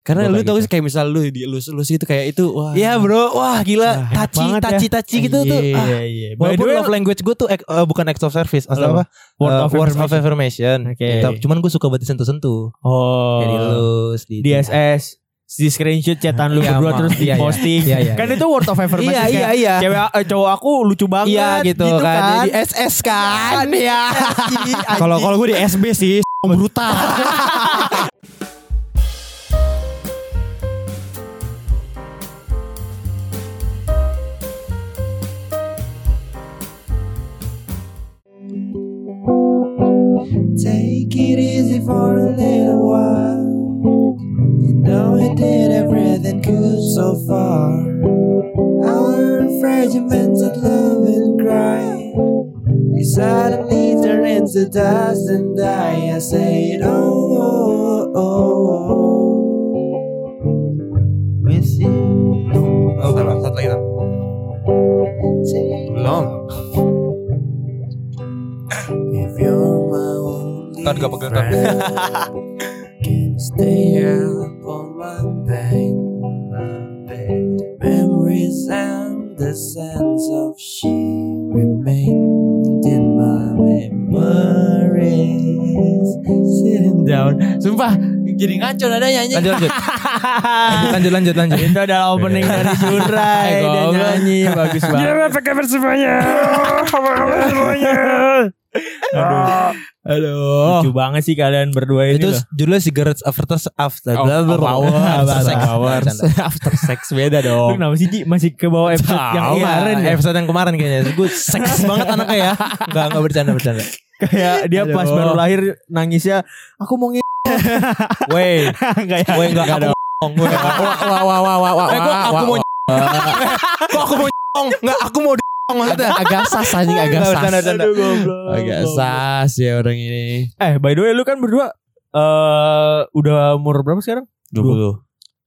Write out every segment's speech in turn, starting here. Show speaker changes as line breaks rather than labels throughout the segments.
Karena
Gua
lu
kayak
tau
gitu.
sih kayak misal lu di elus elus itu kayak itu wah.
Iya bro,
Wah,
wah gila,
enak
taci,
banget ya.
taci, taci gitu tuh.
Iya,
Ah,
iya, iya. By the
Walaupun
way,
love language gue tuh ek- eh, bukan acts of service, asal
Apa?
apa?
Word
Eh,
of
words
affirmation.
kan?
affirmation.
Oke.
Tapi Cuman gue suka buat disentuh-sentuh.
oh.
Jadi lus, di
DSS di screenshot chatan lu
Iya,
berdua
Ma.
terus di
Iya, iya.
posting.
Iya, iya,
Kan
iya.
itu word of affirmation
Iya,
kayak,
iya, iya.
Cewek eh, cowok aku lucu banget
Iya gitu, kan. Jadi SS kan. Iya.
Kalau kalau gue di SB sih brutal.
Take it easy for a little while. You know we did everything good so far. Our fragmented love and cry. We suddenly turn into dust and die. I say, oh, oh, oh, oh. With you.
Oh, salah, satu lagi. Tam.
Take
Belum.
If you're my only
Ntar gak pegang
friend, Can stay up on my bed, my bed. Memories and the sense of she remained in my memories Sitting down Sumpah jadi ngaco nadanya anjing
Lanjut, lanjut. lanjut, lanjut, lanjut.
Itu adalah opening dari Surai
Eh,
dia
goblok.
nyanyi bagus banget.
Apa kabar semuanya? Apa kabar semuanya?
Aduh. Aduh. Lucu banget sih kalian berdua ini.
Oh. Itu
loh.
judulnya cigarettes after after
Oh,
blah, blah, blah.
power,
after
power,
sex.
power.
Canda.
After sex beda dong. Lu kenapa sih Ji masih ke bawah episode yang
Iya,
kemarin ya?
episode yang kemarin kayaknya. Gue seks banget anaknya ya. Enggak, enggak bercanda, bercanda.
Kayak dia
Aduh.
pas baru lahir nangisnya aku mau nge
Wey,
kayak
wey enggak
Nggak
aku
dong.
ngomong. Wey, aku-
Wah wah wah wah wah.
Eh, gua- aku mau Kok aku mau nyong? Enggak, aku mau dong maksudnya.
Agak sas anjing agak
Nggak, bercanda, bercanda.
Aduh goblok. Goblok.
sas ya orang ini.
Eh by the way lu kan berdua eh udah umur berapa sekarang?
20.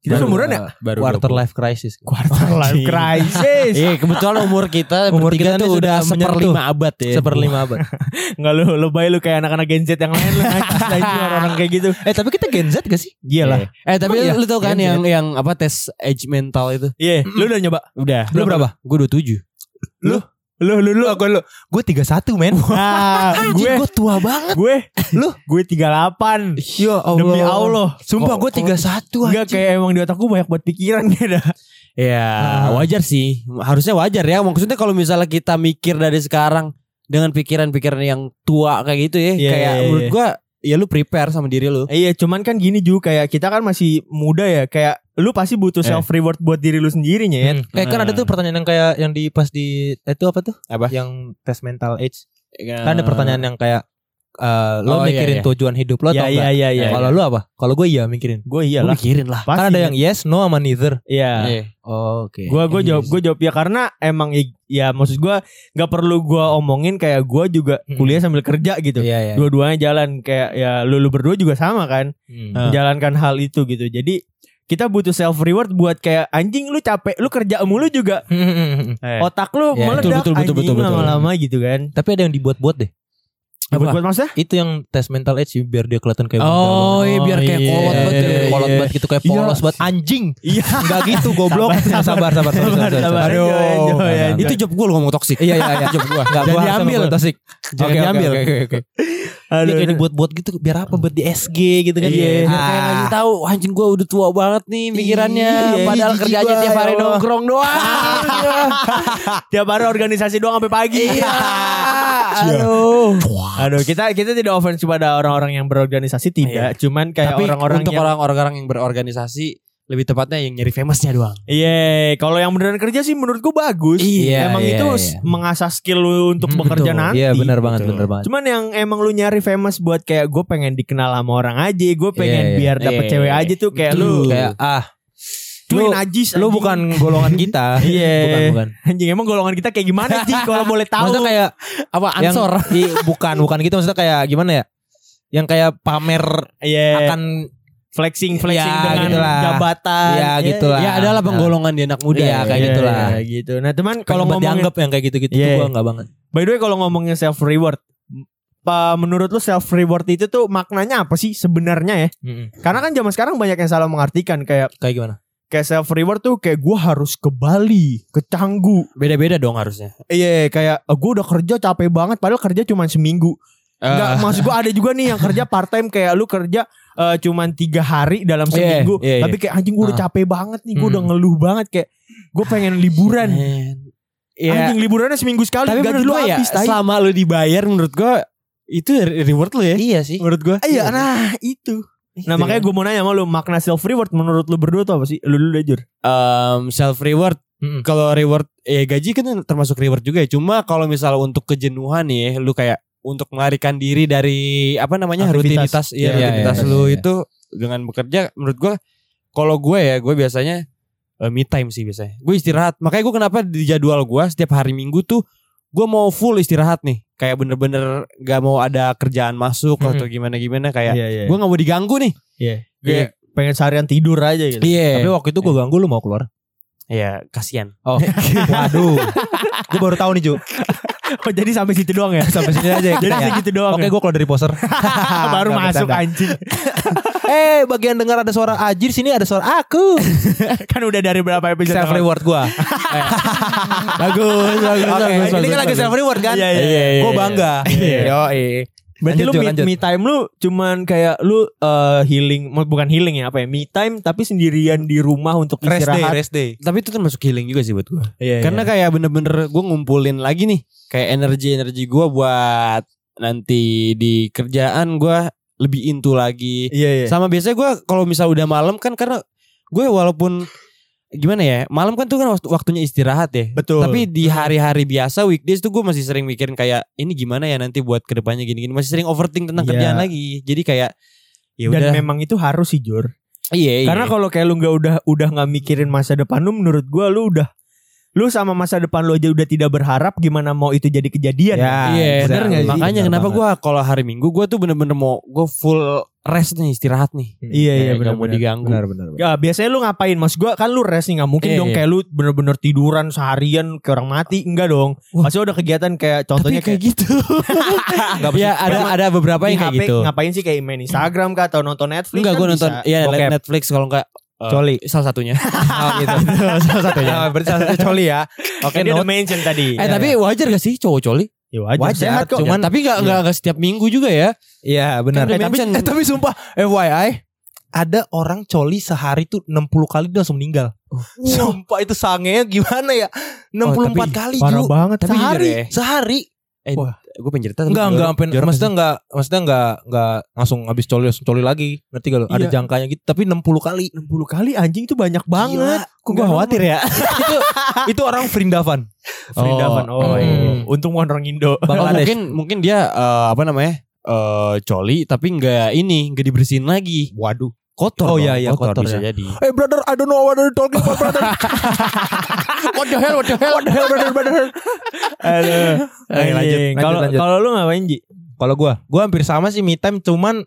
Kita
Baru-
seumuran ya?
Baru Eh, quarter life crisis.
Quarter life crisis.
Iya, kebetulan umur kita umur kita tuh udah seperlima
abad ya.
seperlima abad.
Enggak lu lebay lu kayak anak-anak Gen Z yang lain lu najis najis orang kayak gitu.
eh, tapi kita Gen Z gak sih?
Iya lah.
Eh tapi
Emang iya?
lu tau kan
Iya,
yang yang apa tes age mental itu
Iya, lu udah nyoba? Udah.
Lu berapa? Gue 27.
Lu lu lu.
gue lu. Gue 31, men.
Nah, gue
gue tua banget.
gue lu gue 38.
Ya
Demi Allah.
Sumpah gue 31
Enggak kayak emang di otak gue banyak buat pikiran ya dah.
Iya, Ah.
Ya wajar sih Harusnya wajar ya Maksudnya kalau misalnya kita mikir dari sekarang Dengan pikiran-pikiran yang tua kayak gitu ya
Iya,
Kayak
iya,
menurut
iya.
gua Ya lu prepare sama diri lu
Iya, cuman kan gini juga kayak kita kan masih muda ya, kayak lu pasti butuh
Eh.
self reward buat diri lu sendirinya ya.
Eh kan ada tuh pertanyaan yang kayak yang di pas di eh, itu apa tuh?
Apa?
Yang tes mental age. Kan ada pertanyaan
ya,
yang kayak eh,
Oh,
lo
iya,
mikirin
iya.
tujuan hidup lo
Iya
atau
iya
enggak?
iya iya.
Eh, Kalau lo apa? Kalau gue iya mikirin.
gue
Lu
iyalah.
mikirin lah
Pasti.
Kan ada yang yes, no sama neither.
iya.
Iya.
Oke.
Gua gue
iya.
jawab gue jawab ya karena emang i- ya maksud gua nggak perlu gua omongin kayak gua juga
Hmm.
kuliah sambil kerja gitu.
Iya iya.
Dua-duanya jalan kayak ya lu, lu berdua juga sama kan
Hmm.
menjalankan hal itu gitu. Jadi kita butuh self reward buat kayak anjing lu capek lu kerja mulu juga otak lu
Iya,
meledak
betul, betul, betul,
anjing
betul, betul.
lama-lama gitu kan.
Tapi ada yang dibuat-buat deh.
Buat buat maksudnya?
Itu yang tes mental age biar dia kelihatan kayak
Oh, iya biar kayak
iya,
kolot
iya,
banget
iya,
ya.
kolot banget gitu kayak
Iya.
polos banget anjing.
Iya.
Enggak gitu goblok.
Sabar,
Sabar sabar sabar. sabar, sabar, sabar.
Aduh.
Enggak, enggak.
Itu job gue lu ngomong
Ah.
toksik
Iya iya iya job gua. Enggak
Jangan
gua harus
diambil.
sama gua Tasik.
Jangan
Oke, oke,
diambil.
Oke oke oke.
Aduh,
Dia kayak
aduh.
dibuat-buat gitu biar apa buat di SG gitu kan.
Iya.
Biar
Biar
kayak
kayak
lagi
ngasih tahu anjing gua udah tua banget nih pikirannya
Iya,
padahal
jijik
kerjanya
gua,
tiap hari
ya Allah.
nongkrong doang.
iya. Tiap hari organisasi doang sampai pagi.
Aduh.
Iya. Aduh, kita kita tidak offense pada orang-orang yang berorganisasi tidak, cuman kayak
Tapi
orang-orang
untuk
yang
orang-orang yang berorganisasi lebih tepatnya yang nyari famousnya doang.
Iya, kalau yang beneran kerja sih menurut gua bagus.
Iya,
emang
iya,
itu
iya.
s- mengasah skill lu untuk
Hmm,
bekerja
betul.
nanti. gitu.
Iya benar banget
Betul.
benar banget.
Cuman yang emang lu nyari famous buat kayak gue pengen dikenal sama orang aja, gue pengen
Iya, iya.
biar dapet
Iya,
cewek
iya.
aja tuh kayak lu
Betul.
kayak ah
lu
lu
najis
lu
anjing.
bukan golongan kita.
Iya.
Bukan bukan.
anjing emang golongan kita kayak gimana sih kalau boleh tahu.
Maksudnya kayak
Apa
yang
ansor?
i, bukan bukan gitu maksudnya kayak gimana ya? Yang kayak pamer
Iya,
akan
Iya,
flexing flexing
Ya,
dengan
gitulah.
jabatan.
ya gitu lah.
Ya adalah
Nah,
penggolongan di anak muda
Iya,
kayak
iya,
gitu
iya.
lah.
ya, gitu. Nah, cuman
kalau
kalau
ngomong
ngomongin
dianggap yang kayak gitu-gitu
Iya.
tuh gua enggak banget.
By the way kalau ngomongin self reward apa menurut lu self reward itu tuh maknanya apa sih sebenarnya ya? Karena kan zaman sekarang banyak yang salah mengartikan kayak
Kayak gimana?
kayak self reward tuh kayak gue harus ke Bali, ke Canggu.
Beda-beda dong harusnya.
Iya, kayak gue udah kerja capek banget padahal kerja cuma seminggu.
Ah.
Enggak, maksud gue ada juga nih yang kerja part time kayak lu kerja eh, cuman tiga hari dalam
Iya,
seminggu.
iya, iya.
Tapi kayak anjing gue udah
Ah.
capek banget nih, gue
Hmm.
udah ngeluh banget kayak gue pengen liburan.
Iya,
Anjing liburannya seminggu
Iya.
sekali
Tapi
gaji
menurut
lu
gua ya,
habis tai.
selama lu dibayar menurut gua itu re- reward lu ya.
Iya sih.
Menurut gua.
Iya, nah itu. Nah makanya gue mau nanya sama lu makna self reward menurut lu berdua tuh apa sih? Lu dulu deh, Jur.
self reward kalau reward ya gaji kan termasuk reward juga ya. Cuma kalau misalnya untuk kejenuhan nih ya, lu kayak untuk melarikan diri dari apa namanya
Aktivitas.
rutinitas ya,
Iya,
rutinitas
iya, iya,
lu
iya.
itu dengan bekerja menurut gua kalau gue ya gue biasanya eh, me time sih biasanya. Gue istirahat. Makanya gue kenapa di jadwal gua setiap hari Minggu tuh gue mau full istirahat nih. Kayak bener-bener gak mau ada kerjaan masuk
Mhm.
atau gimana-gimana kayak
Iya, iya.
gue gak mau diganggu nih.
Iya.
Kayak-
pengen seharian tidur aja gitu.
Iya.
Tapi waktu itu gue ganggu lu mau keluar.
Iya, kasihan.
Oh. Waduh. gue baru tahu nih Ju.
Oh, jadi sampai situ doang ya.
Sampai sini aja ya.
jadi
kita ya.
segitu doang.
Oke
ya?
gue keluar dari poser.
baru
Nggak
masuk
bercanda.
anjing.
eh bagian dengar ada suara Ajir sini ada suara aku.
kan udah dari berapa episode?
self
yang lalu?
reward Eh. gue.
bagus, bagus,
Oke.
bagus,
Ini kan lagi self reward kan.
Iya, iya,
iya, iya.
Gue bangga.
Iya.
Yo.
Berarti lu
Lanjut, Jul,
me,
lanjut.
me time lu cuman kayak lu eh, healing, mau- bukan healing ya apa ya? Me time tapi sendirian di rumah untuk
Rest day,
istirahat.
rest day.
Tapi itu termasuk healing juga sih buat gue.
Iya,
Karena kayak bener-bener gue ngumpulin lagi nih. Kayak energi-energi gue buat nanti di kerjaan gue lebih into lagi.
iya iya.
Sama biasanya gue kalau misal udah malam kan karena gue walaupun gimana ya malam kan tuh kan waktu- waktunya istirahat ya.
Betul.
Tapi di hari-hari biasa weekdays tuh gue masih sering mikirin kayak ini gimana ya nanti buat kedepannya gini-gini. Masih sering overthink tentang
Iya.
kerjaan lagi. Jadi kayak ya
dan
udah.
memang itu harus sih Jur.
Iya, iya.
Karena kalau kayak lu nggak udah udah nggak mikirin masa depan lu, menurut gua lu udah lu sama masa depan lu aja udah tidak berharap, gimana mau itu jadi kejadian?
Iya,
Iya,
bener
bener nggak sih?
Makanya
Bener
kenapa
banget.
gue kalau hari Minggu gue tuh bener-bener mau gue full rest nih istirahat nih.
Hmm,
Iya iya
Kayak Eh, nggak
benar
mau diganggu.
Benar benar. benar.
Ya, biasanya lu ngapain mas gua kan lu rest nih nggak mungkin
Iya,
dong
iya.
kayak lu bener-bener tiduran seharian kayak orang mati enggak dong
Wah.
pasti udah kegiatan kayak contohnya
Tapi kayak
kayak,
gitu.
Nggak
ya
mesti-
ada ada beberapa
di
yang kayak
HP
gitu.
ngapain sih kayak main Instagram kah atau nonton Netflix
Enggak
kan
gue
bisa.
nonton
iya,
ya
Bokep.
Netflix kalau enggak eh,
Coli.
salah satunya.
Oh gitu. salah satunya. Ya, berarti salah satu coli ya.
Oke,
Oke,
dia udah
note.
mention tadi.
eh tapi wajar gak sih cowok coli?
ya, wajar, sehat kok.
Cuman Eh, tapi enggak enggak enggak setiap minggu juga ya.
Iya,
Kan
benar.
udah
Eh, tapi
mention.
eh, tapi sumpah FYI ada orang coli sehari tuh 60 kali dia langsung meninggal.
Uh.
Sumpah itu sangenya gimana ya? 64
Oh, tapi
kali
parah
Ju.
banget.
Tapi jujur
sehari,
ya.
sehari.
Eh,
Wah.
gue pengen cerita tapi
Enggak,
jorok-
enggak sampai
jorok
maksudnya enggak maksudnya enggak enggak langsung habis coli langsung coli lagi. Ngerti gak lo? Ada
Iya.
jangkanya gitu tapi 60 kali.
60 kali anjing itu banyak banget.
Kok gue khawatir ya? itu itu orang Vrindavan.
Frida Van Oh,
Oh,
iya.
hmm.
Untung bukan orang Indo.
Atau
Bangladesh.
mungkin mungkin dia eh, apa namanya? eh coli tapi enggak ini, enggak dibersihin lagi.
Waduh.
Kotor.
Oh,
dong,
iya, iya, kotor
bisa
ya.
jadi.
Hey brother, I don't know what you're talking about brother. what the hell, what the hell, what the hell, brother, brother.
Aduh.
Oke, lanjut,
Anjing.
lanjut,
Kalau
lanjut.
kalau lu ngapain Ji?
Kalau gua, gua hampir sama sih me time, cuman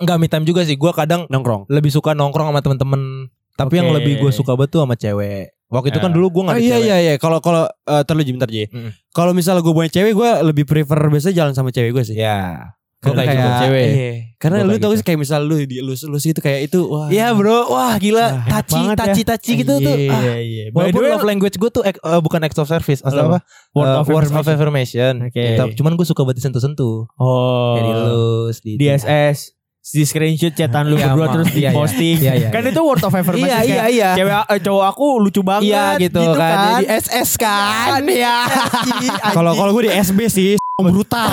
nggak me time juga sih. Gua kadang
Nongkrong.
lebih suka nongkrong sama temen-temen. Tapi yang
Oke.
lebih gue suka banget tuh sama cewek. Waktu itu kan
Ya.
dulu gue
Oh
gak ada
iya
cewek.
iya iya kalau kalau eh terlalu bentar aja.
Mm.
Kalau misalnya gue punya cewek gue lebih prefer biasanya jalan sama cewek gue sih.
Ya.
Gua
Gua kayak gitu, cewek.
Iya. Karena
Gua
lu
kayak
tau
gitu.
sih kayak misal lu di lu lu sih itu kayak itu wah.
Iya bro, wah gila,
enak
taci,
banget ya.
taci, taci gitu tuh.
Iya.
Ah,
iya. By the
Walaupun
way,
love language gue tuh act- eh, bukan act of service, asal
Apa?
apa?
word
Eh,
of
word
affirmation.
affirmation.
Oke.
Tapi Cuman gue suka banget sentuh-sentuh.
Oh.
Jadi lus, di,
Di SS di screenshot chatan lu
Iya,
berdua
Ma.
terus di
Iya, iya.
posting.
Iya, iya,
Kan
iya.
itu word of affirmation.
Iya, iya,
kayak,
iya.
Cewek eh, cowok aku lucu banget.
Iya gitu, kan. Di SS kan.
ya.
Iya.
Kalau kalau gue di SB sih brutal.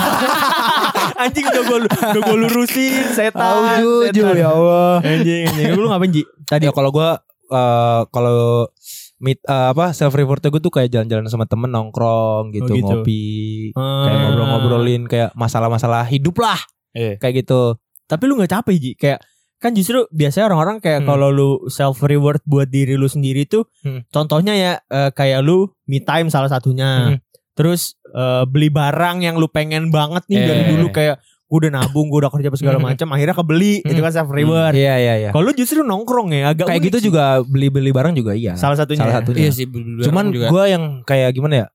anjing udah gue udah gue lurusin setan.
Tahu
setan.
ya Allah.
Anjing, anjing. Lu ngapain Ji?
Tadi ya, kalau gua eh, kalau meet eh, apa self reward gue tuh kayak jalan-jalan sama temen nongkrong gitu,
Oh, gitu.
ngopi, kayak
Hmm.
ngobrol-ngobrolin kayak masalah-masalah hidup lah.
Iya.
Kayak gitu.
Tapi lu nggak capek Ji? Kayak kan justru biasanya orang-orang kayak
Hmm.
kalau lu self reward buat diri lu sendiri tuh
Hmm.
contohnya ya eh, kayak lu me time salah satunya.
Hmm.
Terus eh, beli barang yang lu pengen banget nih dari
Eh.
dulu kayak gue udah nabung, gue udah kerja apa segala
Hmm.
macam, akhirnya kebeli
Hmm.
itu kan self reward.
Iya iya iya.
Kalau lu justru nongkrong ya agak
Kayak
unik
gitu
sih.
juga beli-beli barang juga iya.
salah satunya. ya?
Salah satunya.
sih. bener-bener
Cuman
juga.
gua yang kayak gimana ya?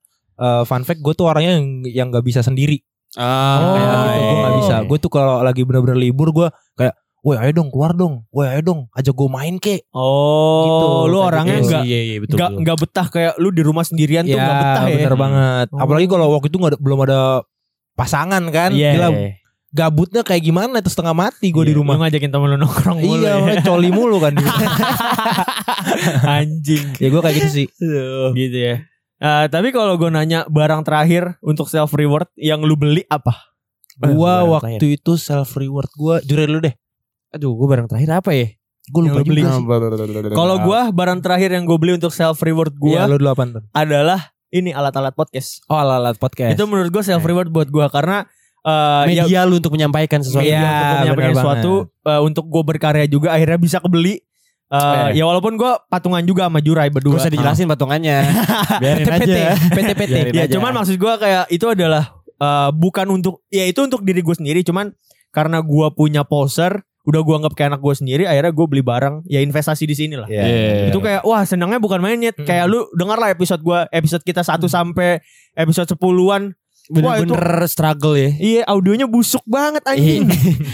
eh, fun fact gue tuh orangnya yang yang nggak bisa sendiri.
Ah,
Oh,
iya, iya,
gue gak
iya.
bisa. Gue tuh kalau lagi bener-bener libur gue kayak, woi ayo dong keluar dong, woi ayo dong, ajak gue main kek.
Oh, lu
Gitu, kayak
orangnya
Iya
gitu.
nggak
sih, Iya, iya, betul.
nggak
betul.
nggak betah kayak lu di rumah sendirian tuh nggak betah ya.
Iya, bener banget.
Oh.
Apalagi kalau waktu itu nggak ada- belum ada pasangan kan,
Iya.
gila gabutnya kayak gimana itu setengah mati gue di
Iya,
rumah.
lu ngajakin temen lu nongkrong mulu.
Iya,
ya.
makanya coli mulu kan.
Anjing.
ya gue kayak gitu sih.
gitu ya. Eh, tapi kalau gue nanya barang terakhir untuk self reward yang lu beli apa?
Gue
Barang
waktu itu self reward gue, jujur dulu deh.
Aduh, gue barang terakhir apa ya?
Gue lupa
Yang lu beli.
juga sih.
Kalau gue barang terakhir yang gue beli untuk self reward gue
Iya, lu dulu apaan tuh?
adalah ini alat-alat podcast.
Oh alat-alat podcast.
Itu menurut gue self reward buat gue karena eh, ya-
Media lu untuk menyampaikan sesuatu.
Iya, untuk menyampaikan
bener
sesuatu eh, untuk gue berkarya juga akhirnya bisa kebeli. Eh,
Eh.
Ya walaupun gue patungan juga sama Jurai
Gak
berdua.
usah dijelasin patungannya. Biarin
PT,
aja.
PT, PT. Iya,
Biarin
Ya
aja.
cuman maksud gue kayak itu adalah eh, bukan untuk ya itu untuk diri gue sendiri. Cuman karena gue punya poser, udah gue anggap kayak anak gue sendiri. Akhirnya gue beli barang ya investasi di sini lah.
Iya.
ya.
Itu kayak wah senangnya bukan main Nyet.
Hmm.
Kayak lu denger lah episode gue episode kita 1 sampai episode 10-an.
bener-bener struggle ya.
Iya audionya busuk banget
Iya.
anjing.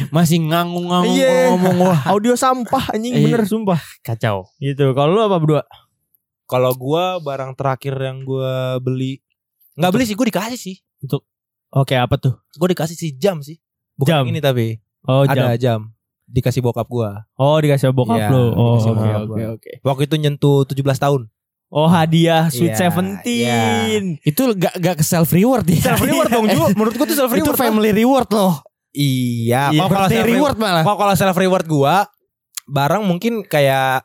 Masih ngangung-ngangung
Iya.
ngomong wah
Audio sampah anjing
Iya.
bener sumpah.
kacau.
Gitu. Kalau lu apa berdua?
Kalau gue barang terakhir yang gue beli, nggak beli sih, gue dikasih sih.
Oke apa tuh?
Gue dikasih sih jam sih. Bukan
Jam.
ini tapi
Oh,
ada jam. Dikasih bokap gue.
Oh, dikasih bokap
Iya,
lo. Oh,
dikasih
oke
bokap
oke
gua.
oke.
Waktu itu nyentuh 17 tahun.
Oh, hadiah Sweet
Iya,
Seventeen.
Itu gak, gak ke self reward ya.
Self reward dong, Ju. Menurut gua tuh self
Itu
reward.
family reward loh.
Iya.
Iya,
Kalau kalau
Birthday
self reward,
reward malah.
kalau kalau self reward gue, barang mungkin kayak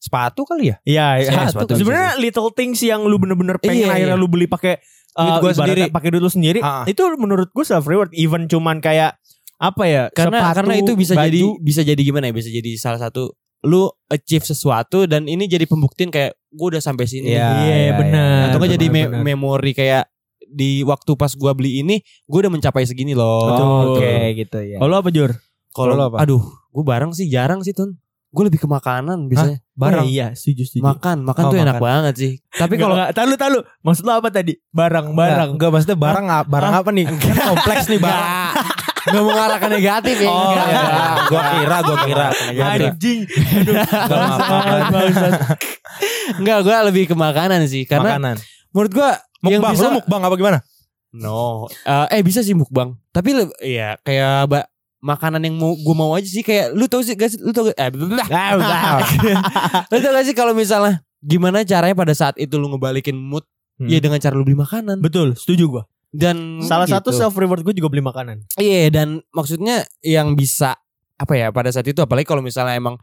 sepatu kali ya.
Iya, iya.
Iya,
Satu.
sepatu
Sebenarnya little things yang lu bener-bener
Iya,
pengen akhirnya lu beli pakai eh,
Duit gua
ibaratnya
sendiri.
pakai duit lu sendiri.
Ah.
Itu menurut gua self reward even cuman kayak apa ya?
Karena
sepatu,
karena itu bisa
baju.
jadi bisa jadi gimana ya? Bisa jadi salah satu lu achieve sesuatu dan ini jadi pembuktian kayak gue udah sampai sini.
Iya,
Iya,
iya,
benar.
Atau nggak jadi me-
benar.
memori kayak di waktu pas gua beli ini gue udah mencapai segini loh.
Betul.
Oke.
gitu ya.
Oh, lu apa Jur?
Kalau
Kalau lu apa?
aduh, gue barang sih jarang sih, Tun. Gue lebih ke makanan biasanya.
Oh,
Barang.
iya, setuju setuju.
Makan, makan
Oh,
tuh enak
makan.
banget sih. Tapi kalau
kalau enggak tahu tahu maksud lu apa tadi?
Barang.
Barang-barang.
Enggak maksudnya barang a- barang apa nih? Kan kompleks nih barang.
Nggak. Nggak mengarah ke negatif ya.
Oh,
Nggak.
iya. Gua kira, gua kira.
Anjing. Aduh,
apa-apa.
bangsat.
Enggak, gue lebih ke makanan sih karena
Makanan.
menurut gue yang
Mukbang,
bisa
lu mukbang apa gimana?
no. Eh, eh bisa sih mukbang. Tapi le- iya kayak ba- makanan yang mau gue mau aja sih kayak lu tau sih gak sih lu tau gak eh, blah.
Nah,
lu tau gak sih kalau misalnya gimana caranya pada saat itu lu ngebalikin mood
Hmm.
ya dengan cara lu beli makanan
Betul, setuju gua.
dan
Salah satu
gitu.
self reward gue juga beli makanan.
Iya dan maksudnya yang bisa apa ya pada saat itu apalagi kalau misalnya emang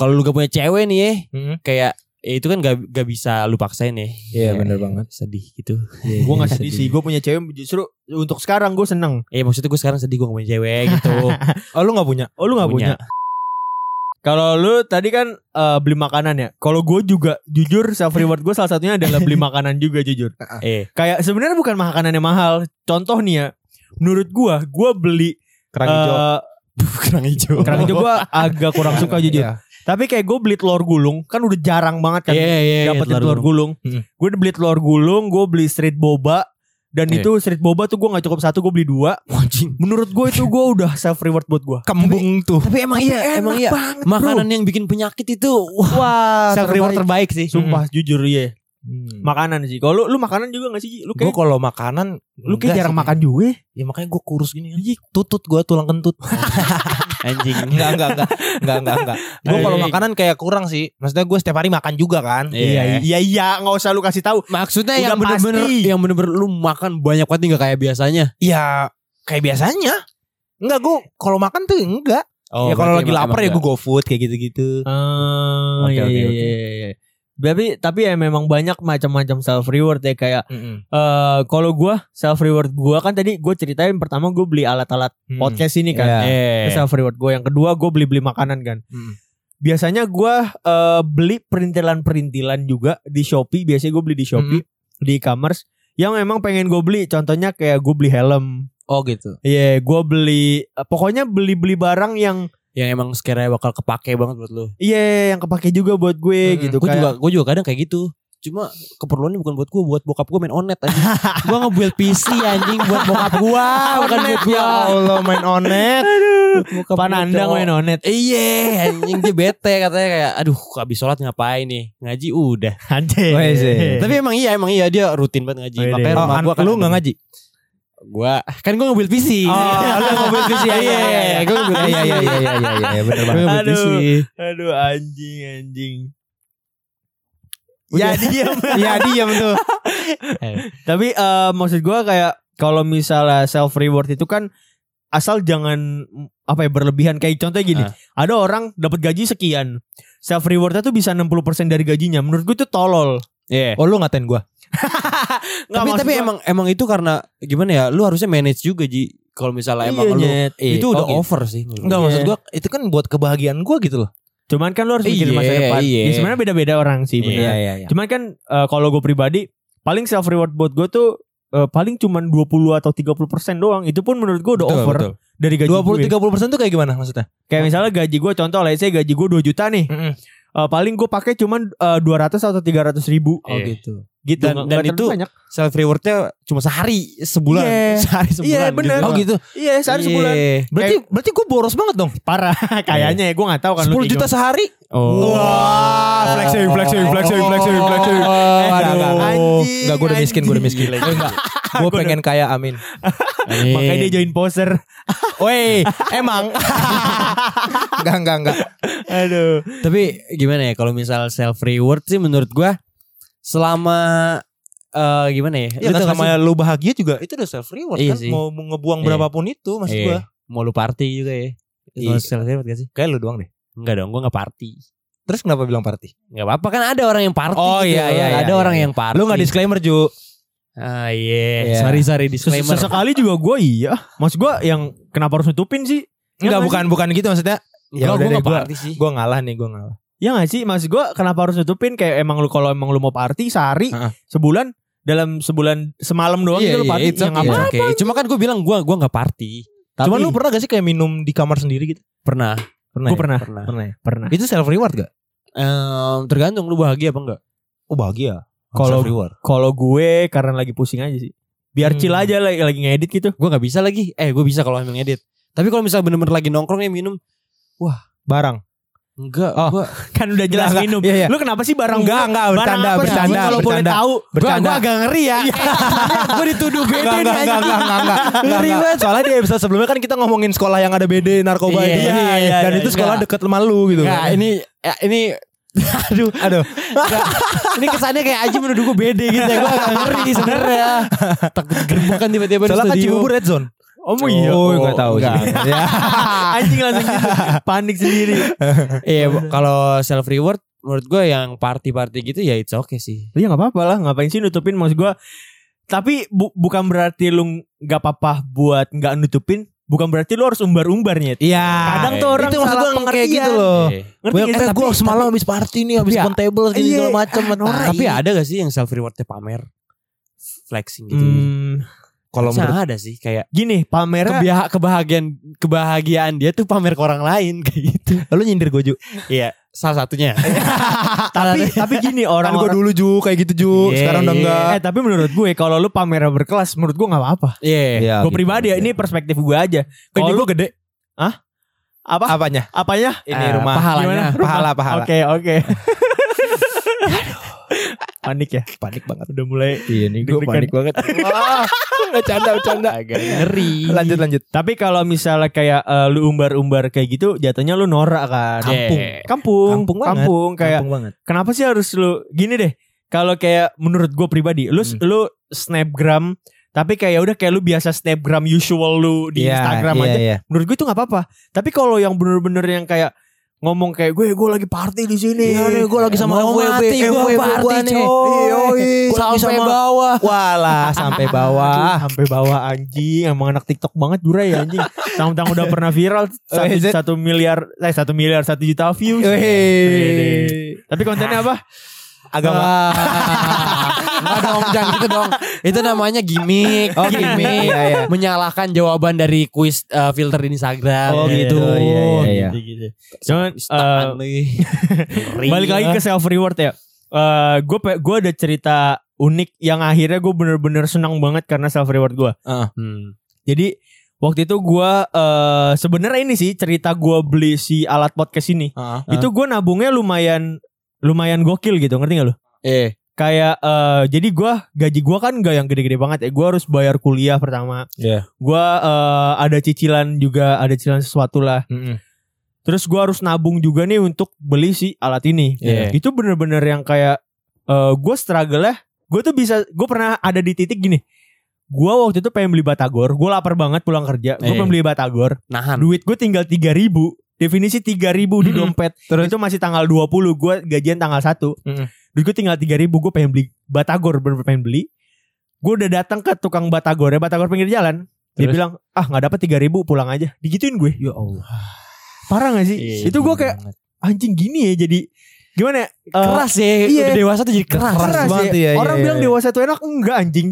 kalau lu gak punya cewek nih ya
Hmm.
kayak ya itu kan gak, gak bisa lu paksain ya.
Iya, bener banget.
Sedih gitu.
Iya,
Gue gak sedih sih, gue punya cewek justru untuk sekarang gue seneng.
Ya maksudnya gue sekarang sedih gue gak punya cewek gitu.
Oh lu gak punya?
Oh lu gak punya?
Punya.
Kalau lu tadi kan eh, beli makanan ya. Kalau gue juga jujur self reward gue salah satunya adalah beli makanan juga jujur.
eh
Kayak sebenarnya bukan makanan yang mahal. Contoh nih ya, menurut gue, gue beli
Kerang hijau.
eh,
kerang hijau.
kerang hijau gue agak kurang suka jujur.
Iya.
Tapi kayak gue beli telur gulung kan udah jarang banget kan.
Iya iya iya,
dapetin
telur
telur
gulung.
gulung.
Mm.
Gue beli telur gulung, gue beli street boba dan
Iya.
itu street boba tuh gue nggak cukup satu, gue beli dua. Menurut gue itu gue udah self reward buat gue.
Kembung tuh.
Tapi emang iya emang iya. Makanan yang bikin penyakit itu wah
Wah,
self reward terbaik sih.
Sumpah jujur iya.
Hmm.
Makanan sih. Kalau lu, lu makanan juga gak sih? Ji? Lu
Gue
kayak
kalau makanan
lu kayak
enggak
jarang
sih.
makan juga. ya?
Ya makanya gue kurus gini kan. Tutut gue tulang kentut.
Anjing.
Enggak, enggak, enggak. Enggak, enggak, enggak. Gue kalau
Iya.
makanan kayak kurang sih. Maksudnya gue setiap hari makan juga kan.
Iya.
iya iya, nggak usah lu kasih tahu.
Maksudnya
Udah
yang bener-bener
pasti.
yang bener-bener lu makan banyak banget nggak kayak biasanya.
Ya kayak biasanya. Enggak, gue kalau makan tuh enggak.
Oh,
ya kalau
berarti
lagi
emang-
lapar
emang
ya gue go food kayak gitu-gitu.
Ah,
Oke,
iya,
oke,
iya,
oke.
iya, iya. Tapi tapi ya memang banyak macam-macam self reward ya kayak eh kalau gua self reward gua kan tadi gue ceritain pertama gue beli alat-alat
Hmm.
podcast ini kan.
Iya.
Eh.
Itu self reward gue. Yang kedua gue beli beli makanan kan.
Hmm.
Biasanya gue eh, beli perintilan perintilan juga di Shopee. Biasanya gue beli di Shopee di e-commerce. Yang emang pengen gue beli. Contohnya kayak gue beli helm.
Oh gitu.
Iya, gue beli. eh, pokoknya beli beli barang yang
yang emang sekiranya bakal kepake banget buat lu.
iya yang kepake juga buat gue
Hmm,
gitu.
Gue
Kayak-
juga gue juga kadang kayak gitu. Cuma keperluannya bukan buat gue, buat bokap gue main onet anjing. gue nge-build PC anjing buat bokap gue, bukan buat gue.
Ya
Allah main onet.
Bokap gua,
Panandang
cowok.
main onet
Iya anjing dia bete katanya kayak aduh habis sholat ngapain nih ngaji udah
Anjing
Woi, sih.
tapi emang iya emang iya dia rutin banget ngaji
Wede.
makanya
Oh,
rumah
an-
gua kan
lu gak ngaji?
gua kan gua nge-build PC
lu ngobrol ke
Iya, iya, iya. Gua
Iya, iya, iya, iya, iya, iya, iya, bener banget.
Aduh.
Betul sih.
Aduh anjing anjing Ya diem
Iya, diam tuh.
Tapi eh, maksud gua kayak Kalau misalnya self reward itu kan Asal jangan mm, Apa ya berlebihan Kayak contohnya gini
Ah.
Ada orang dapat gaji sekian Self rewardnya tuh bisa 60% dari gajinya Menurut gue itu tolol
Iya.
Oh, lu ngatain gua.
Nggak,
tapi
maksud
tapi
gua-
emang emang itu karena gimana ya lu harusnya manage juga Ji kalau misalnya emang
Iya,
lu
Nyet. Iya.
itu udah
Oke.
over sih menurut
Enggak
Iya.
maksud gua, itu kan buat kebahagiaan gua gitu loh.
Cuman kan lu harus
Iya,
mikirin masa depan
iya.
Ya sebenarnya beda-beda orang sih bener.
iya, iya.
Cuman kan eh, kalau gue pribadi paling self reward buat gue tuh eh, paling cuman 20 atau 30% doang. Itu pun menurut gue udah
Betul,
over
betul.
dari gaji
20
Iya.
gue.
30% tuh kayak gimana maksudnya?
Kayak misalnya gaji gue contoh lah saya gaji gue 2 juta nih.
Mm-mm.
Eh, paling gue pakai cuman eh, 200 atau 300 ribu
Oh,
Iya.
gitu.
gitu.
Dan- dan
Nggak- nggak terlalu
itu
banyak.
Self rewardnya cuma sehari sebulan.
Iya.
Sehari sebulan.
Iya, bener.
Gitu.
Oh, gitu.
Iya sehari
Iya.
sebulan.
Berarti berarti gua boros banget dong.
Parah kayaknya ya gue gak tahu kan. lu
10
kayak
juta sehari.
Oh.
Wah, flexing, flexing, flexing, flexing, flexing.
Oh,
Eh,
aduh.
enggak, anjing,
Enggak, gua udah miskin, gua udah miskin.
anjing.
Eh, Enggak. Gua pengen kaya, amin.
gimana. Makanya dia join poser.
Woi, emang. Enggak, enggak, enggak.
Aduh.
Tapi gimana ya kalau misal self reward sih menurut gua selama eh gimana ya?
Ya
Lu
kan
tau gak
sama
sih?
lu bahagia juga itu udah self reward
Iya
kan.
sih.
Mau mau ngebuang
Iya.
berapapun itu maksud
Iya.
gua.
mau lu party juga ya. Itu
Iya.
self reward gak sih?
Kayak lu doang deh.
Enggak dong, gua gak party.
Terus kenapa bilang party?
Gak apa-apa kan ada orang yang party
Oh,
gitu.
iya, iya,
Ada
iya,
orang
iya.
yang party.
Lu nggak disclaimer Ju.
Ah iya.
Iya.
Sorry sorry
Ses-
disclaimer.
Sesekali juga gue iya. Maksud gue yang kenapa harus nutupin sih?
Enggak
Iya,
bukan bukan gitu maksudnya. Ya
Enggak,
udah
gua
deh
gak
gua.
party sih.
Gua ngalah nih, gua ngalah.
Ya gak sih Maksud gue kenapa harus nutupin Kayak emang lu Kalau emang lu mau party Sehari
Heeh.
Sebulan Dalam sebulan Semalam doang
Iya,
gitu lu
iya,
party
it's
Yang
okay,
apa
it's okay. Cuma kan gue bilang gue gua nggak party.
Tapi, Cuman
Tapi-
lu pernah gak sih kayak minum di kamar sendiri gitu?
Pernah,
Pernah.
Gua
ya?
pernah
pernah.
Pernah. ya?
Pernah
Itu self reward gak?
Em, tergantung lu bahagia apa enggak.
Oh bahagia.
Kalau-
self reward.
Kalau gue Karena lagi pusing aja sih Biar
Hmm.
chill aja lagi, lagi ngedit gitu
Gue nggak bisa lagi. Eh gue bisa kalau emang edit. Tapi kalau misalnya bener-bener lagi nongkrong ya minum
barang.
enggak.
Oh,
Gua,
Kan udah jelas
Enggak,
minum
iya, iya.
Lu kenapa sih barang
Enggak,
gue?
enggak,
Barang
bercanda,
apa sih?
bercanda,
Gue Kalau boleh
bercanda.
tahu
Bercanda. Iya.
agak ngeri ya. gue dituduh beda
Enggak, enggak, enggak, enggak, enggak, enggak, enggak,
Ngeri
enggak. Soalnya di episode sebelumnya kan kita ngomongin sekolah yang ada BD narkoba
Iya,
itu.
iya, iya,
Dan
iya,
itu
iya.
sekolah deket sama lu gitu.
kan.
Enggak, ini ya, ini aduh
Aduh.
Enggak. ini kesannya kayak Aji menuduh gue beda gitu ya. Gue agak ngeri sebenarnya. Takut gerbukan tiba-tiba di
Soalnya kan
studio.
Cibubur red zone.
Oh iya
Oh, enggak tahu
enggak.
sih. Ya.
Anjing langsung gitu Panik sendiri
Iya, bu- kalau self reward menurut gue yang party-party gitu ya it's okay sih.
Iya gak apa-apa lah Ngapain sih nutupin Maksud gue Tapi bu- bukan berarti lu Gak apa-apa buat Gak nutupin Bukan berarti lu harus umbar-umbarnya
Iya.
Kadang tuh orang
itu maksud
salah
gua kayak
pengertian.
gitu loon.
Eh,
Ngerti
Well,
gak?
eh,
Tapi-
gue semalam habis party nih, habis
Tapi ya-
kontebel segala
Iya,
segala macam.
norak.
tapi
iya.
ada gak sih yang self rewardnya pamer? Flexing gitu.
Hmm,
Kalau
Harusnya
menurut
ada sih kayak
gini pamernya
kebiha- kebahagiaan kebahagiaan dia tuh pamer ke orang lain kayak gitu.
lu nyindir gue Ju.
Iya, salah satunya.
tapi tapi gini
Kan gue
orang-orang
dulu Ju kayak gitu Ju,
Iya,
sekarang udah
iya.
enggak.
eh tapi menurut gue kalau lu pamer berkelas menurut gue nggak apa-apa
Eh,
Iya.
Ah,
gue
gitu.
pribadi ya ini perspektif gue aja
ini
kalau lu
gue gede.
apa
Apanya?
apanya
Ini
Eh,
rumah
pahalanya.
Gimana?
Rumah.
pahala pahala.
oke oke panik ya
Panik banget.
udah mulai
Iya nih
gua panik
banget. Wah, bercanda bercanda.
Agak ngeri.
Lanjut lanjut.
tapi kalau misalnya kayak eh, lu umbar-umbar kayak gitu jatuhnya lu norak kan
Kampung.
kampung
Kampung banget.
kampung kayak
Kampung banget.
kenapa sih harus lu gini deh kalau kayak menurut gue pribadi lu
Hmm.
lu snapgram tapi kayak ya udah kayak lu biasa snapgram usual lu di
Iya,
Instagram
iya,
aja
iya.
menurut gue itu nggak apa-apa tapi kalau yang bener-bener yang kayak ngomong kayak gue gue lagi party di sini
Iya nih, gue lagi sama
Mau
FWB,
mati gua
FWB gua
party,
nih. Iya,
coy.
Yoi. Gua lagi
Sampai
sama-
bawah.
Walah sampai bawah.
Aduh, sampai bawah anjing emang anak TikTok banget Jura ya anjing tang-tang udah pernah viral
Oh,
satu,
is it?
satu miliar eh satu miliar satu juta views
Eh. Wih.
tapi kontennya apa
Agama.
Ah. Nggak dong, jangan gitu dong. Itu namanya gimmick.
Oh, gimmick. Iya, iya.
Menyalahkan jawaban dari quiz eh, filter di Instagram.
Oh, gitu. Iya, iya, iya.
gitu, gitu. cuman eh,
Apaan nih? Ngeri.
balik lagi ke self reward ya eh gue pe- gue ada cerita unik yang akhirnya gue bener-bener senang banget karena self reward gue.
Ah.
Jadi waktu itu gue eh sebenarnya ini sih cerita gue beli si alat podcast ini.
Ah.
Itu gue nabungnya lumayan lumayan gokil gitu ngerti gak lu?
Eh.
Kayak eh jadi gue gaji gue kan gak yang gede-gede banget ya. Gue harus bayar kuliah pertama.
Iya.
Gue eh ada cicilan juga ada cicilan sesuatu lah. Terus gue harus nabung juga nih untuk beli si alat ini.
Iya.
Nah, Itu bener-bener yang kayak gue struggle ya. Gue tuh bisa, gue pernah ada di titik gini. Gue waktu itu pengen beli batagor. Gue lapar banget pulang kerja. Gue
Eh.
pengen beli batagor.
Nahan.
Duit gue tinggal 3000 ribu. Definisi 3000 di
Mm-mm.
dompet.
Terus?
Itu masih tanggal 20. Gue gajian tanggal 1.
Mm-mm.
Duit gue tinggal 3000 ribu. Gue pengen beli batagor. Bener-bener pengen beli. Gue udah datang ke tukang batagor. Ya, batagor pinggir jalan. Dia
Terus?
bilang, ah gak dapet 3000 ribu pulang aja. Digituin gue.
Ya Allah.
Parah gak sih? itu gue kayak anjing gini ya jadi gimana ya? Eh,
keras ya.
iya.
Udah dewasa tuh jadi keras.
Keras
keras
banget
ya.
ya, iya,
Orang
iya,
bilang
iya.
dewasa itu enak enggak anjing.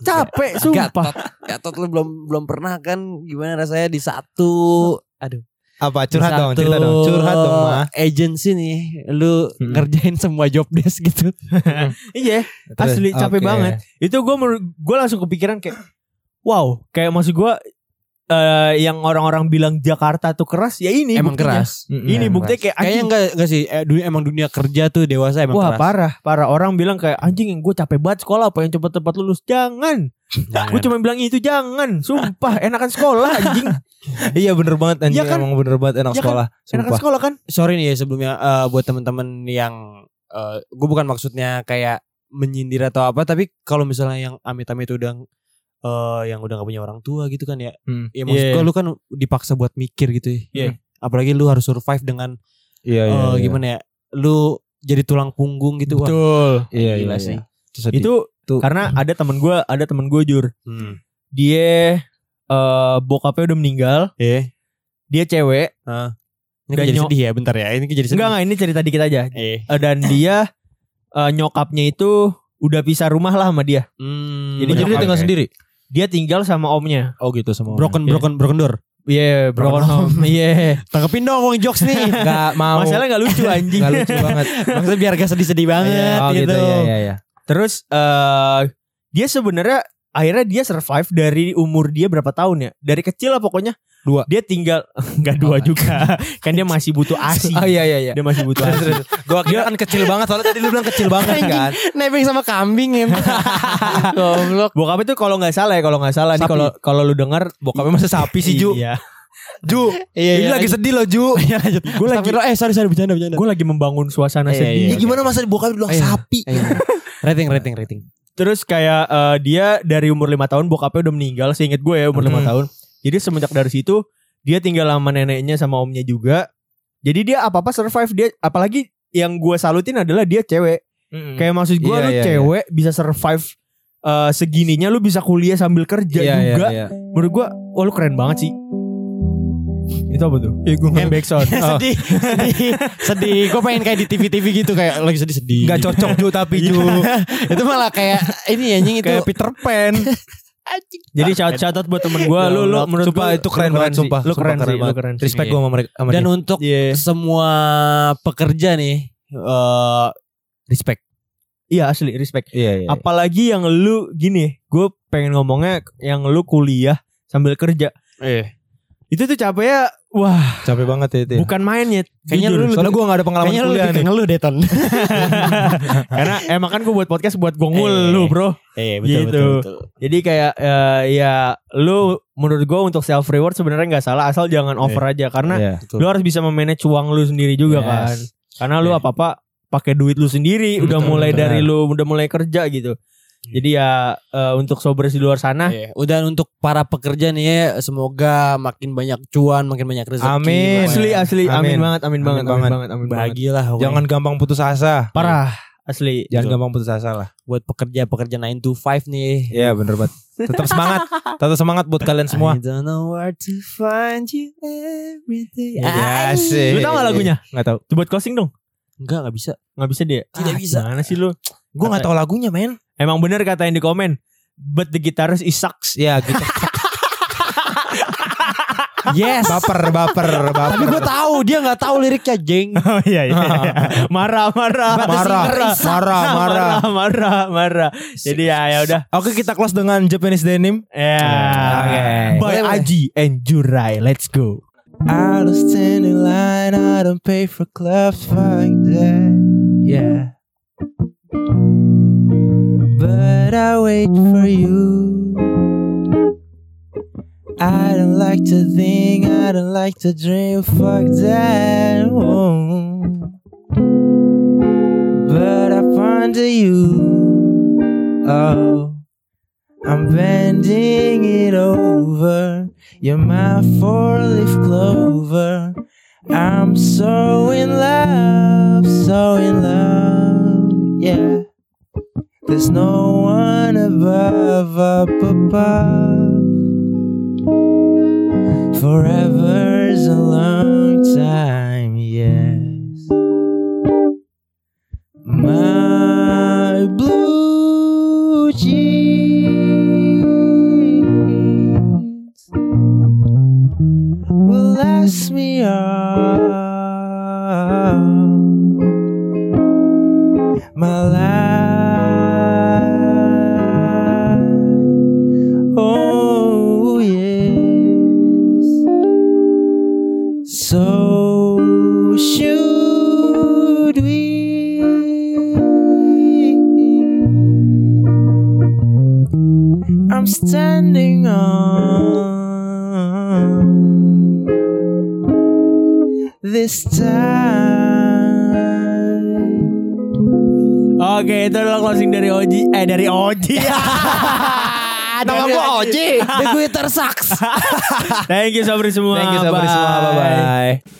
Capek sumpah.
Gatot, Gatot lu belum belum pernah kan gimana rasanya di satu aduh di
Apa curhat dong,
satu
cerita dong. Curhat dong, Ma.
Agency nih, lu
Mm-mm.
ngerjain semua job desk gitu.
Iya,
Terus,
asli capek
oke.
banget. itu gue gue langsung kepikiran kayak wow, kayak maksud gue eh yang orang-orang bilang Jakarta tuh keras ya ini
emang
buktinya.
keras.
Mm-mm.
Ini
Emang
buktinya kayak
Kayaknya
anjing.
enggak enggak sih, eh, dunia, emang dunia kerja tuh dewasa emang
Wah
keras.
parah parah orang bilang kayak anjing gue capek banget sekolah pengen cepet-cepet lulus jangan
Jangan.
gue cuma bilang itu jangan sumpah enakan sekolah anjing
Iya bener banget
Iya
anjing
kan?
emang bener banget enak
Iya kan?
sekolah.
enakan
Sumpah.
sekolah kan
sorry nih ya sebelumnya eh, buat teman-teman yang gue bukan maksudnya kayak menyindir atau apa tapi kalau misalnya yang amit-amit udah eh, yang udah gak punya orang tua gitu kan ya
Hmm.
ya maksud
Iya.
gua lu kan dipaksa buat mikir gitu ya
Iya.
apalagi lu harus survive dengan
Iya
eh,
Oh, gitu.
gimana ya lu jadi tulang punggung gitu wah
betul
Iya
gila
iya
sih.
sih.
itu
Tuh.
karena ada temen gue ada temen gue jur
Hmm.
dia eh bokapnya udah meninggal
Eh,
dia cewek
ini
Dan
kan jadi
nyok-
sedih ya bentar ya ini kan jadi sedih
enggak enggak ini cerita dikit aja
eh
Eh, dan dia eh, nyokapnya itu udah pisah rumah lah sama dia
Hmm,
Jadi
Jadi dia
nyokap.
tinggal sendiri.
dia tinggal sama omnya
Oh gitu sama.
broken broken broken door
iya broken home iya
tangkepin dong wong jokes nih
Enggak mau.
masalah nggak lucu anjing
Oh. Nggak lucu banget.
maksudnya biar gak sedih-sedih
Iya,
banget
Oh
gitu,
gitu ya ya ya.
terus eh dia sebenarnya akhirnya dia survive dari umur dia berapa tahun ya dari kecil lah pokoknya
Dua.
dia tinggal nggak dua juga kan dia masih butuh asi
Oh iya iya iya.
dia masih butuh asi
Gua kira kan kecil banget soalnya tadi lu bilang kecil banget kan.
Nebeng sama kambing ya. Goblok.
Bokap itu kalau nggak salah ya kalau nggak salah nih
Sapi.
kalau kalau lu dengar bokapnya
Masa sapi sih Ju.
Iya.
Ju.
Iya,
Ini lagi sedih loh Ju.
Iya lanjut.
Gue lagi
Astagfirullah, eh sorry sorry bercanda bercanda.
gue lagi membangun suasana
Iya, iya,
sedih.
Ini gimana masa bokap lu bilang
Iya.
sapi?
Ayo. rating rating rating.
Terus kayak eh, dia dari umur 5 tahun bokapnya udah meninggal seinget gue ya umur lima
Hmm.
tahun. Jadi semenjak dari situ dia tinggal sama neneknya sama omnya juga. Jadi dia apa-apa survive dia apalagi yang gue salutin adalah dia cewek. Kayak maksud gue
Iya,
lu
iya,
cewek bisa survive eh, segininya lu bisa kuliah sambil kerja juga.
Iya.
Menurut gue wah lu keren banget sih. Itu apa tuh? Ya
Iya,
gue back sound. Oh.
sedih, sedih, sedih. Gue pengen kayak di TV-TV gitu kayak lagi sedih-sedih.
Enggak cocok Ju tapi Ju.
Iya.
itu malah kayak ini anjing itu.
Kayak Peter Pan.
Jadi shout shout out buat temen gue
Ya
lu lu
Allah,
menurut gua
sumpah itu keren
lu
banget,
sih.
sumpah.
Lu
Sumpah
keren
keren
sih, lu
banget.
keren. sih.
Respect gua sama mereka sama
Dan
dia.
untuk
Iya.
semua pekerja nih eh respect.
Iya asli respect.
Iya iya.
Apalagi yang lu gini, gue pengen ngomongnya yang lu kuliah sambil kerja.
Eh.
Itu tuh capeknya wah,
Capek banget ya itu. ya.
bukan main ya.
Kayaknya
jujur.
lu lebih-
Soalnya gua gak ada pengalaman
Kayaknya lu
kuliah
lebih
nih.
ke ngeluh Deton.
karena emang kan gue buat podcast buat gongul
Iya.
Eh.
lu, Bro.
Eh
betul, betul,
betul.
Jadi kayak eh, ya lu menurut gue untuk self reward sebenarnya nggak salah asal jangan over aja karena
Iya.
lu harus bisa memanage uang lu sendiri juga
Yes.
kan. Karena lu
Iya.
apa-apa pakai duit lu sendiri,
Betul,
udah mulai
benar.
dari lu udah mulai kerja gitu. Jadi ya eh, untuk sobres di luar sana
Iya. Udah untuk para pekerja nih ya, semoga makin banyak cuan, makin banyak rezeki.
Amin.
asli asli amin,
Iya. Amin.
banget amin,
Amin
banget amin
banget.
banget amin banget.
Bahagialah pokoknya.
Jangan gampang putus asa.
Iya. Parah asli.
Jangan gampang putus asa lah.
buat pekerja-pekerja 9 to 5 nih.
Iya bener banget. Tetap semangat. Tetap semangat buat kalian
I
semua.
don't know where to find you Ah, every day. Iya
Ya,
Lu
asik.
tau gak lagunya?
Gak tau.
Coba closing dong.
Enggak, enggak bisa.
Gak bisa dia.
Tidak bisa.
Mana sih lu?
Gue gak tau lagunya men.
Emang bener katain
Iya, gitu.
Iya. di komen. But the guitarist is sucks.
Ya gitu.
Yes.
Baper, baper, baper.
Tapi gue tahu dia nggak tahu liriknya jeng.
Oh iya iya. iya. Marah
Marah,
marah
marah, marah.
marah marah marah. Jadi ya ya udah.
Oke kita close dengan Japanese Denim.
Ya.
Oke.
By
Boleh, boleh.
Aji and Jurai. Let's go.
I don't stand in line, I don't pay for clubs like that, yeah. But I wait for you. I don't like to think, I don't like to dream, fuck that. oh. But I ponder you, oh. I'm bending it over. You're my four leaf clover. I'm so in love, so in love, yeah. There's no one above, up above. Forever's a long time, yes. My blue jeans will last me all my life. Oh yes. So should we I'm standing on this time
Oke itu adalah closing dari Oji. Eh dari Oji.
Nama gue Oji.
Thank you Sobri semua.
Thank you Sabri semua. Bye bye.